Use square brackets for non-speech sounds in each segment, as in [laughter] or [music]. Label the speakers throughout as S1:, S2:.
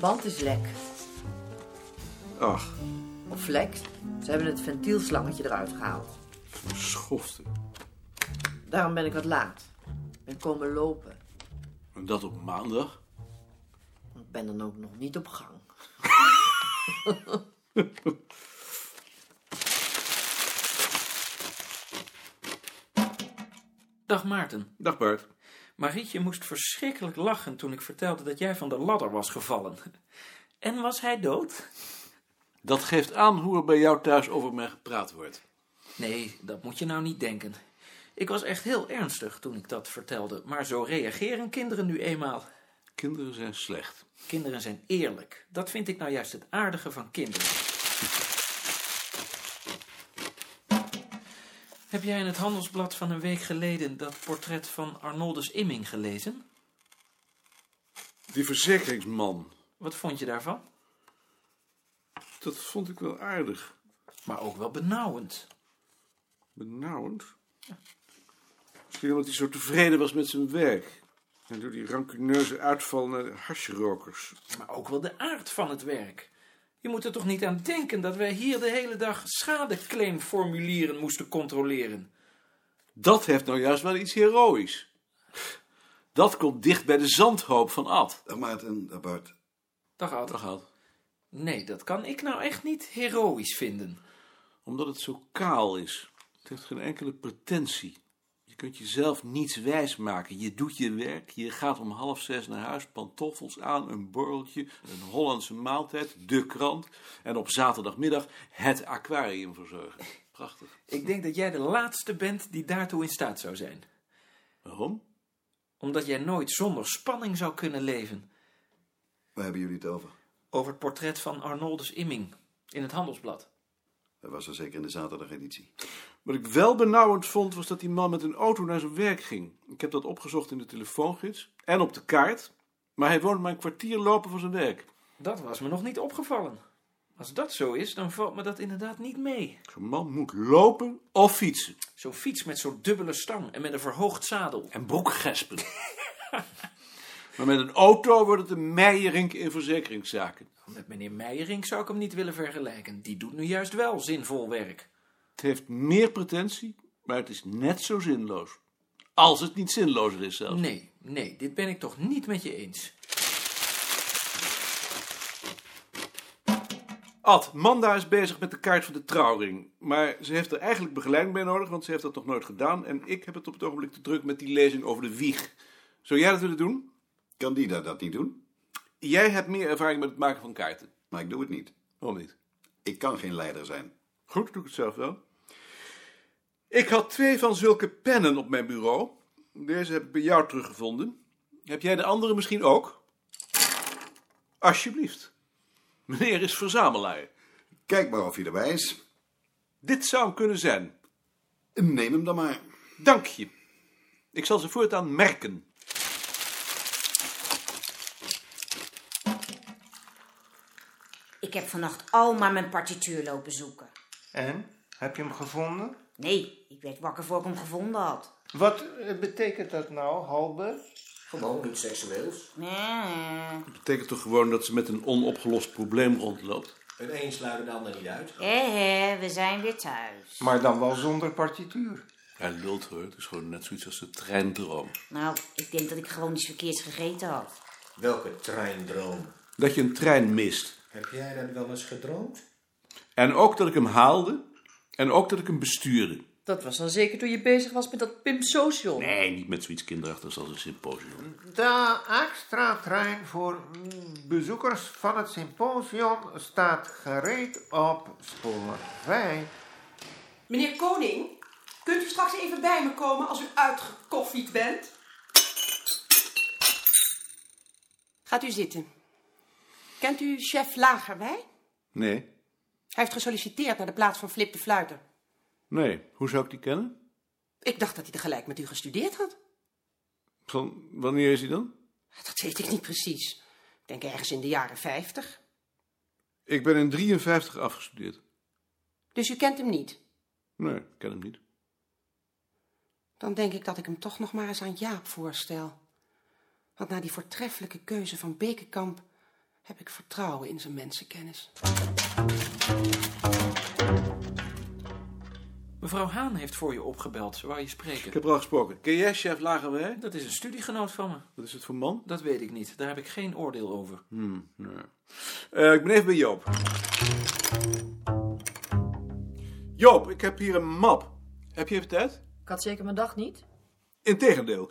S1: lucht is lek.
S2: Ach,
S1: Of vlek. Ze hebben het ventielslangetje eruit gehaald.
S2: schofte.
S1: Daarom ben ik wat laat. Ik ben komen lopen.
S2: En dat op maandag?
S1: Ik ben dan ook nog niet op gang.
S3: Dag Maarten.
S2: Dag Bart.
S3: Marietje moest verschrikkelijk lachen toen ik vertelde dat jij van de ladder was gevallen. [laughs] En was hij dood?
S2: Dat geeft aan hoe er bij jou thuis over mij gepraat wordt.
S3: Nee, dat moet je nou niet denken. Ik was echt heel ernstig toen ik dat vertelde, maar zo reageren kinderen nu eenmaal.
S2: Kinderen zijn slecht.
S3: Kinderen zijn eerlijk. Dat vind ik nou juist het aardige van kinderen. Heb jij in het handelsblad van een week geleden dat portret van Arnoldus Imming gelezen?
S2: Die verzekeringsman,
S3: Wat vond je daarvan?
S2: dat vond ik wel aardig.
S3: Maar ook wel benauwend.
S2: Benauwend. Misschien omdat hij zo tevreden was met zijn werk. En door die rancuneuze uitval naar de harsjerokers.
S3: Maar ook wel de aard van het werk. Je moet er toch niet aan denken dat wij hier de hele dag schadeclaimformulieren moesten controleren.
S2: Dat heeft nou juist wel iets heroïs. Dat komt dicht bij de zandhoop van Ad.
S4: Dag Maarten, dag Bart.
S3: Dag, Ad.
S2: Dag Ad.
S3: Nee, dat kan ik nou echt niet heroïs vinden.
S2: Omdat het zo kaal is. Het heeft geen enkele pretentie. Je kunt jezelf niets wijs maken. Je doet je werk, je gaat om half zes naar huis, pantoffels aan, een borreltje, een Hollandse maaltijd, de krant en op zaterdagmiddag het aquarium verzorgen. Prachtig.
S3: Ik denk dat jij de laatste bent die daartoe in staat zou zijn.
S2: Waarom?
S3: Omdat jij nooit zonder spanning zou kunnen leven.
S4: Waar hebben jullie het over?
S3: Over het portret van Arnoldus Imming in het Handelsblad.
S4: Dat was er zeker in de zaterdageditie.
S2: Wat ik wel benauwend vond, was dat die man met een auto naar zijn werk ging. Ik heb dat opgezocht in de telefoongids en op de kaart. Maar hij woont maar een kwartier lopen van zijn werk.
S3: Dat was me nog niet opgevallen. Als dat zo is, dan valt me dat inderdaad niet mee.
S2: Zo'n man moet lopen of fietsen.
S3: Zo'n fiets met zo'n dubbele stang en met een verhoogd zadel.
S2: En broekgespen. [laughs] maar met een auto wordt het een meiering in verzekeringszaken.
S3: Oh, Met meneer Meijering zou ik hem niet willen vergelijken. Die doet nu juist wel zinvol werk.
S2: Het heeft meer pretentie, maar het is net zo zinloos. Als het niet zinlozer is zelfs.
S3: Nee, nee, dit ben ik toch niet met je eens.
S2: Ad, Manda is bezig met de kaart van de trouwring. Maar ze heeft er eigenlijk begeleiding bij nodig, want ze heeft dat nog nooit gedaan. En ik heb het op het ogenblik te druk met die lezing over de wieg. Zou jij dat willen doen?
S4: Kan die dat, dat niet doen?
S2: Jij hebt meer ervaring met het maken van kaarten.
S4: Maar ik doe het niet.
S2: Waarom niet?
S4: Ik kan geen leider zijn.
S2: Goed, doe ik het zelf wel. Ik had twee van zulke pennen op mijn bureau. Deze heb ik bij jou teruggevonden. Heb jij de andere misschien ook? Alsjeblieft. Meneer is verzamelaar.
S4: Kijk maar of je erbij is.
S2: Dit zou hem kunnen zijn.
S4: Neem hem dan maar.
S2: Dank je. Ik zal ze voortaan merken.
S5: Ik heb vannacht al maar mijn partituur lopen zoeken.
S6: En? Heb je hem gevonden?
S5: Nee, ik werd wakker voor ik hem gevonden had.
S6: Wat eh, betekent dat nou, halve?
S7: Gewoon iets seksueels.
S5: Nee.
S2: Dat betekent toch gewoon dat ze met een onopgelost probleem rondloopt?
S7: Het een sluit de ander niet uit.
S5: Hé, hé, eh, we zijn weer thuis.
S6: Maar dan wel zonder partituur.
S2: Hij lult hoor, het is gewoon net zoiets als de treindroom.
S5: Nou, ik denk dat ik gewoon iets verkeerds gegeten had.
S7: Welke treindroom?
S2: Dat je een trein mist.
S7: Heb jij dat wel eens gedroomd?
S2: En ook dat ik hem haalde. En ook dat ik hem bestuurde.
S8: Dat was dan zeker toen je bezig was met dat Pim Social.
S2: Nee, niet met zoiets kinderachtigs als een symposium.
S6: De extra trein voor mm, bezoekers van het symposium staat gereed op spoor 5.
S9: Meneer Koning, kunt u straks even bij me komen als u uitgekoffied bent? Gaat u zitten. Kent u chef Lagerwij?
S2: Nee.
S9: Hij heeft gesolliciteerd naar de plaats van Flip de Fluiter.
S2: Nee, hoe zou ik die kennen?
S9: Ik dacht dat hij tegelijk met u gestudeerd had.
S2: Van wanneer is hij dan?
S9: Dat weet ik niet precies. Ik denk ergens in de jaren 50.
S2: Ik ben in 53 afgestudeerd.
S9: Dus u kent hem niet?
S2: Nee, ik ken hem niet.
S9: Dan denk ik dat ik hem toch nog maar eens aan Jaap voorstel. Want na die voortreffelijke keuze van Bekenkamp
S10: heb ik vertrouwen in zijn mensenkennis.
S3: Mevrouw Haan heeft voor je opgebeld. Ze wou je spreken.
S2: Ik heb er al gesproken. Ken jij chef Lagerwij?
S3: Dat is een studiegenoot van me.
S2: Wat is het voor man?
S3: Dat weet ik niet. Daar heb ik geen oordeel over.
S2: Hmm, nee. Eh, ik ben even bij Joop. Joop, ik heb hier een map. Heb je even tijd?
S8: Ik had zeker mijn dag niet.
S2: Integendeel.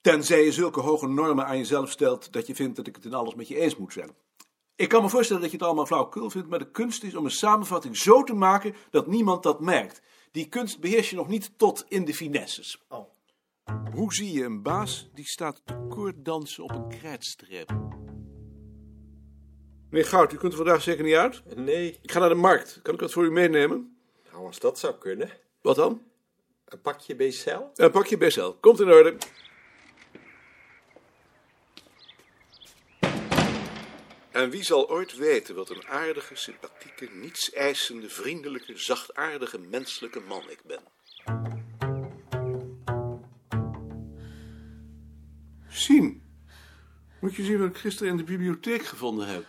S2: Tenzij je zulke hoge normen aan jezelf stelt dat je vindt dat ik het in alles met je eens moet zijn. Ik kan me voorstellen dat je het allemaal flauwkul vindt, maar de kunst is om een samenvatting zo te maken dat niemand dat merkt. Die kunst beheers je nog niet tot in de finesses.
S8: Oh.
S2: Hoe zie je een baas die staat te koorddansen op een krijtstreep? Meneer Goud, u kunt er vandaag zeker niet uit.
S11: Nee,
S2: Ik ga naar de markt. Kan ik wat voor u meenemen?
S11: nou als dat zou kunnen.
S2: Wat dan?
S11: Een pakje BCL?
S2: Een pakje bestel. Komt in orde. En wie zal ooit weten wat een aardige, sympathieke, niets-eisende, vriendelijke, zachtaardige, menselijke man ik ben? Zien. Moet je zien wat ik gisteren in de bibliotheek gevonden heb.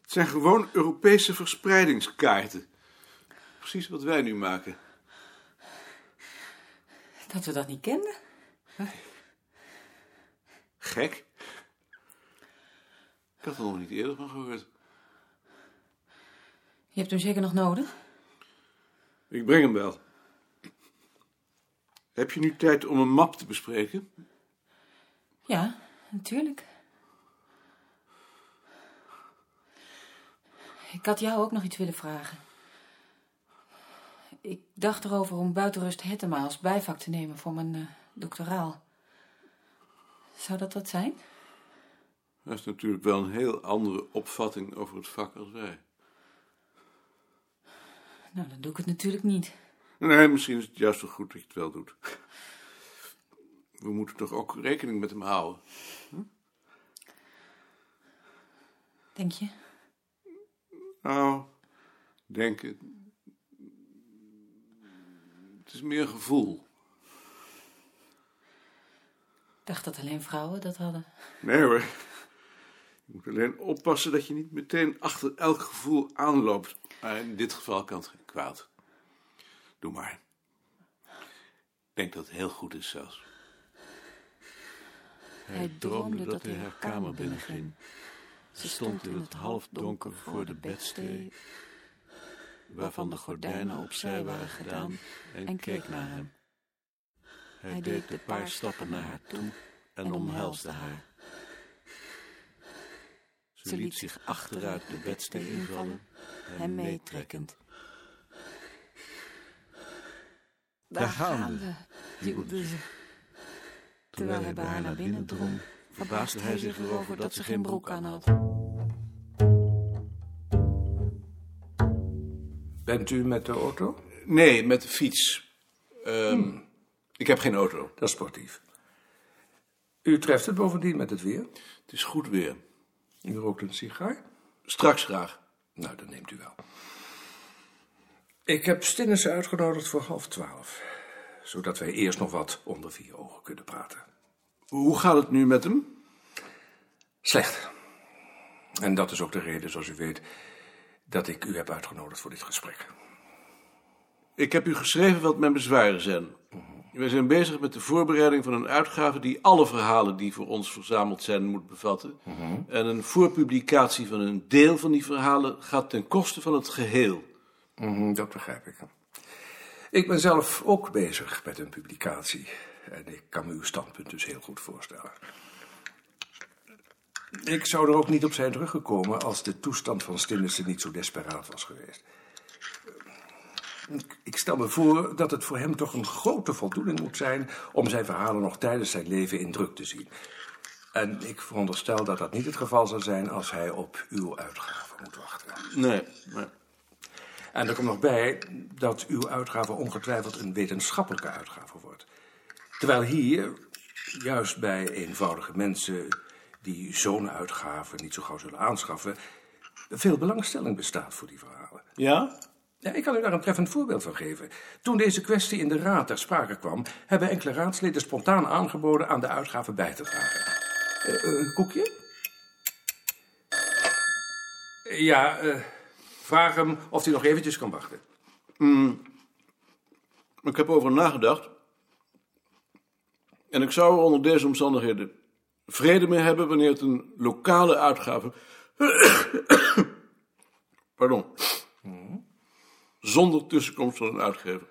S2: Het zijn gewoon Europese verspreidingskaarten. Precies wat wij nu maken.
S10: Dat we dat niet kenden.
S2: Gek. Ik had er nog niet eerder van gehoord.
S10: Je hebt hem zeker nog nodig.
S2: Ik breng hem wel. Heb je nu tijd om een map te bespreken?
S10: Ja, natuurlijk. Ik had jou ook nog iets willen vragen. Ik dacht erover om buitenrust Hettema als bijvak te nemen voor mijn eh, doctoraal. Zou dat dat zijn?
S2: Dat is natuurlijk wel een heel andere opvatting over het vak als wij.
S10: Nou, dan doe ik het natuurlijk niet.
S2: Nee, misschien is het juist wel goed dat je het wel doet. We moeten toch ook rekening met hem houden.
S10: Denk je?
S2: Nou, denken. Het is meer gevoel.
S10: Ik dacht dat alleen vrouwen dat hadden.
S2: Nee hoor. Je moet alleen oppassen dat je niet meteen achter elk gevoel aanloopt. Maar in dit geval kan het geen kwaad. Doe maar. Ik denk dat het heel goed is zelfs. Hij, droomde dat hij haar kamer binnenging. Ze stond in het halfdonker voor de bedstee, waarvan de gordijnen opzij waren gedaan, en keek naar hem. Hij deed een paar stappen naar haar toe en omhelsde haar. Ze liet zich achteruit de bedstee invallen, hem meetrekkend.
S10: Daar gaan we, duwde ze. Terwijl hij bij haar naar binnen drong, verbaasde hij zich erover dat ze geen broek aan had.
S12: Bent u met de auto?
S2: Nee, met de fiets. Ehm, Ik heb geen auto.
S12: Hmm. Dat is sportief. U treft het bovendien met het weer.
S2: Het is goed weer.
S12: U rookt een sigaar?
S2: Straks graag.
S12: Nou, dat neemt u wel. Ik heb Stinnes uitgenodigd voor half twaalf. Zodat wij eerst nog wat onder vier ogen kunnen praten.
S2: Hoe gaat het nu met hem?
S12: Slecht. En dat is ook de reden, zoals u weet, dat ik u heb uitgenodigd voor dit gesprek.
S2: Ik heb u geschreven wat mijn bezwaren zijn. Wij zijn bezig met de voorbereiding van een uitgave die alle verhalen die voor ons verzameld zijn moet bevatten. En een voorpublicatie van een deel van die verhalen gaat ten koste van het geheel.
S12: Mhm, Dat begrijp ik. Ik ben zelf ook bezig met een publicatie. En ik kan me uw standpunt dus heel goed voorstellen. Ik zou er ook niet op zijn teruggekomen als de toestand van Stinnissen niet zo desperaat was geweest. Ik- Ik stel me voor dat het voor hem toch een grote voldoening moet zijn om zijn verhalen nog tijdens zijn leven in druk te zien. En ik veronderstel dat dat niet het geval zal zijn als hij op uw uitgave moet wachten.
S2: Nee, nee.
S12: En er komt nog bij dat uw uitgave ongetwijfeld een wetenschappelijke uitgave wordt. Terwijl hier, juist bij eenvoudige mensen die zo'n uitgave niet zo gauw zullen aanschaffen, veel belangstelling bestaat voor die verhalen.
S2: Ja?
S12: Ja, ik kan u daar een treffend voorbeeld van geven. Toen deze kwestie in de Raad ter sprake kwam, hebben enkele raadsleden spontaan aangeboden aan de uitgave bij te dragen. Eh, een koekje? Ja, eh, vraag hem of hij nog eventjes kan wachten.
S2: Hmm. Ik heb over nagedacht. En ik zou er onder deze omstandigheden vrede mee hebben wanneer het een lokale uitgave. [coughs] Pardon. Zonder tussenkomst van een uitgever.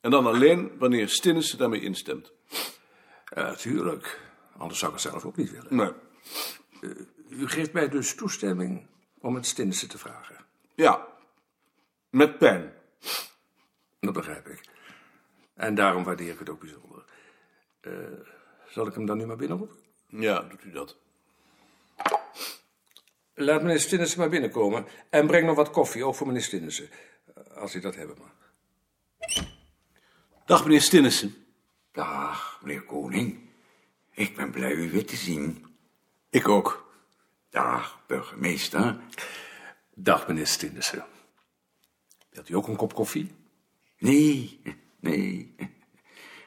S2: En dan alleen wanneer Stinnes daarmee instemt.
S12: Ja, tuurlijk. Anders zou ik het zelf ook niet willen.
S2: Nee.
S12: U geeft mij dus toestemming om het Stinnissen te vragen.
S2: Ja. Met pijn.
S12: Dat begrijp ik. En daarom waardeer ik het ook bijzonder. Eh, zal ik hem dan nu maar binnenroepen?
S2: Ja, doet u dat.
S12: Laat meneer Stinnissen maar binnenkomen. En breng nog wat koffie, ook voor meneer Stinnissen. Als hij dat hebben mag.
S2: Dag meneer Stinnissen.
S13: Dag, meneer Koning. Ik ben blij u weer te zien.
S2: Ik ook.
S13: Dag, burgemeester.
S12: Dag, meneer Stinnissen. Wilt u ook een kop koffie?
S13: Nee, nee.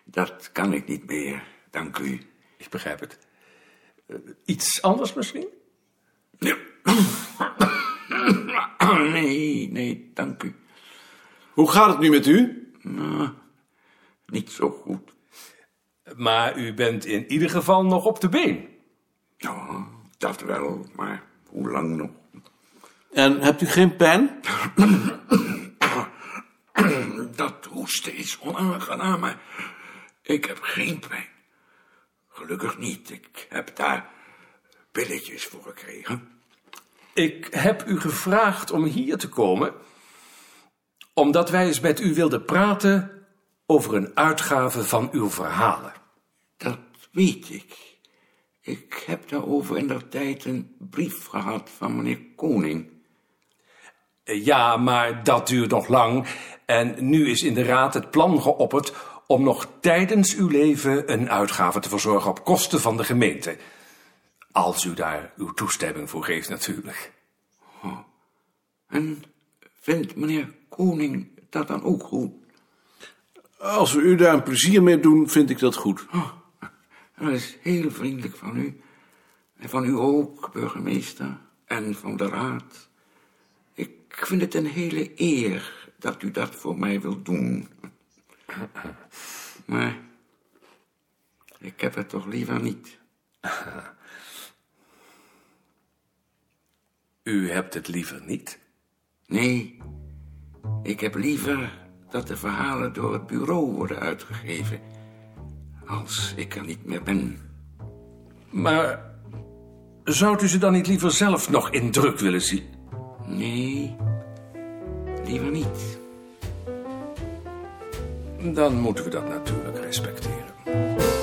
S13: Dat kan ik niet meer, dank u.
S12: Ik begrijp het. Eh, Iets anders misschien?
S13: Oh, Nee, nee, dank u.
S2: Hoe gaat het nu met u?
S13: Nou, niet zo goed.
S12: Maar u bent in ieder geval nog op de been.
S13: Ja, dat wel, maar hoe lang nog?
S2: En hebt u geen pijn?
S13: Dat hoesten is onaangenaam, maar ik heb geen pijn. Gelukkig niet. Ik heb daar pilletjes voor gekregen.
S12: Ik heb u gevraagd om hier te komen, omdat wij eens met u wilden praten over een uitgave van uw verhalen.
S13: Dat weet ik. Ik heb daarover in der tijd een brief gehad van meneer Koning.
S12: Eh, Ja, maar dat duurt nog lang. En nu is in de raad het plan geopperd om nog tijdens uw leven een uitgave te verzorgen op kosten van de gemeente. Als u daar uw toestemming voor geeft, natuurlijk.
S13: En vindt meneer Koning dat dan ook goed?
S2: Als we u daar een plezier mee doen, vind ik dat goed.
S13: Dat is heel vriendelijk van u. En van u ook, burgemeester. En van de raad. Ik vind het een hele eer dat u dat voor mij wilt doen. Maar ik heb het toch liever niet.
S12: U hebt het liever niet.
S13: Nee, ik heb liever dat de verhalen door het bureau worden uitgegeven. Als ik er niet meer ben.
S12: Maar zou u ze dan niet liever zelf nog in druk willen zien?
S13: Nee, liever niet.
S12: Dan moeten we dat natuurlijk respecteren.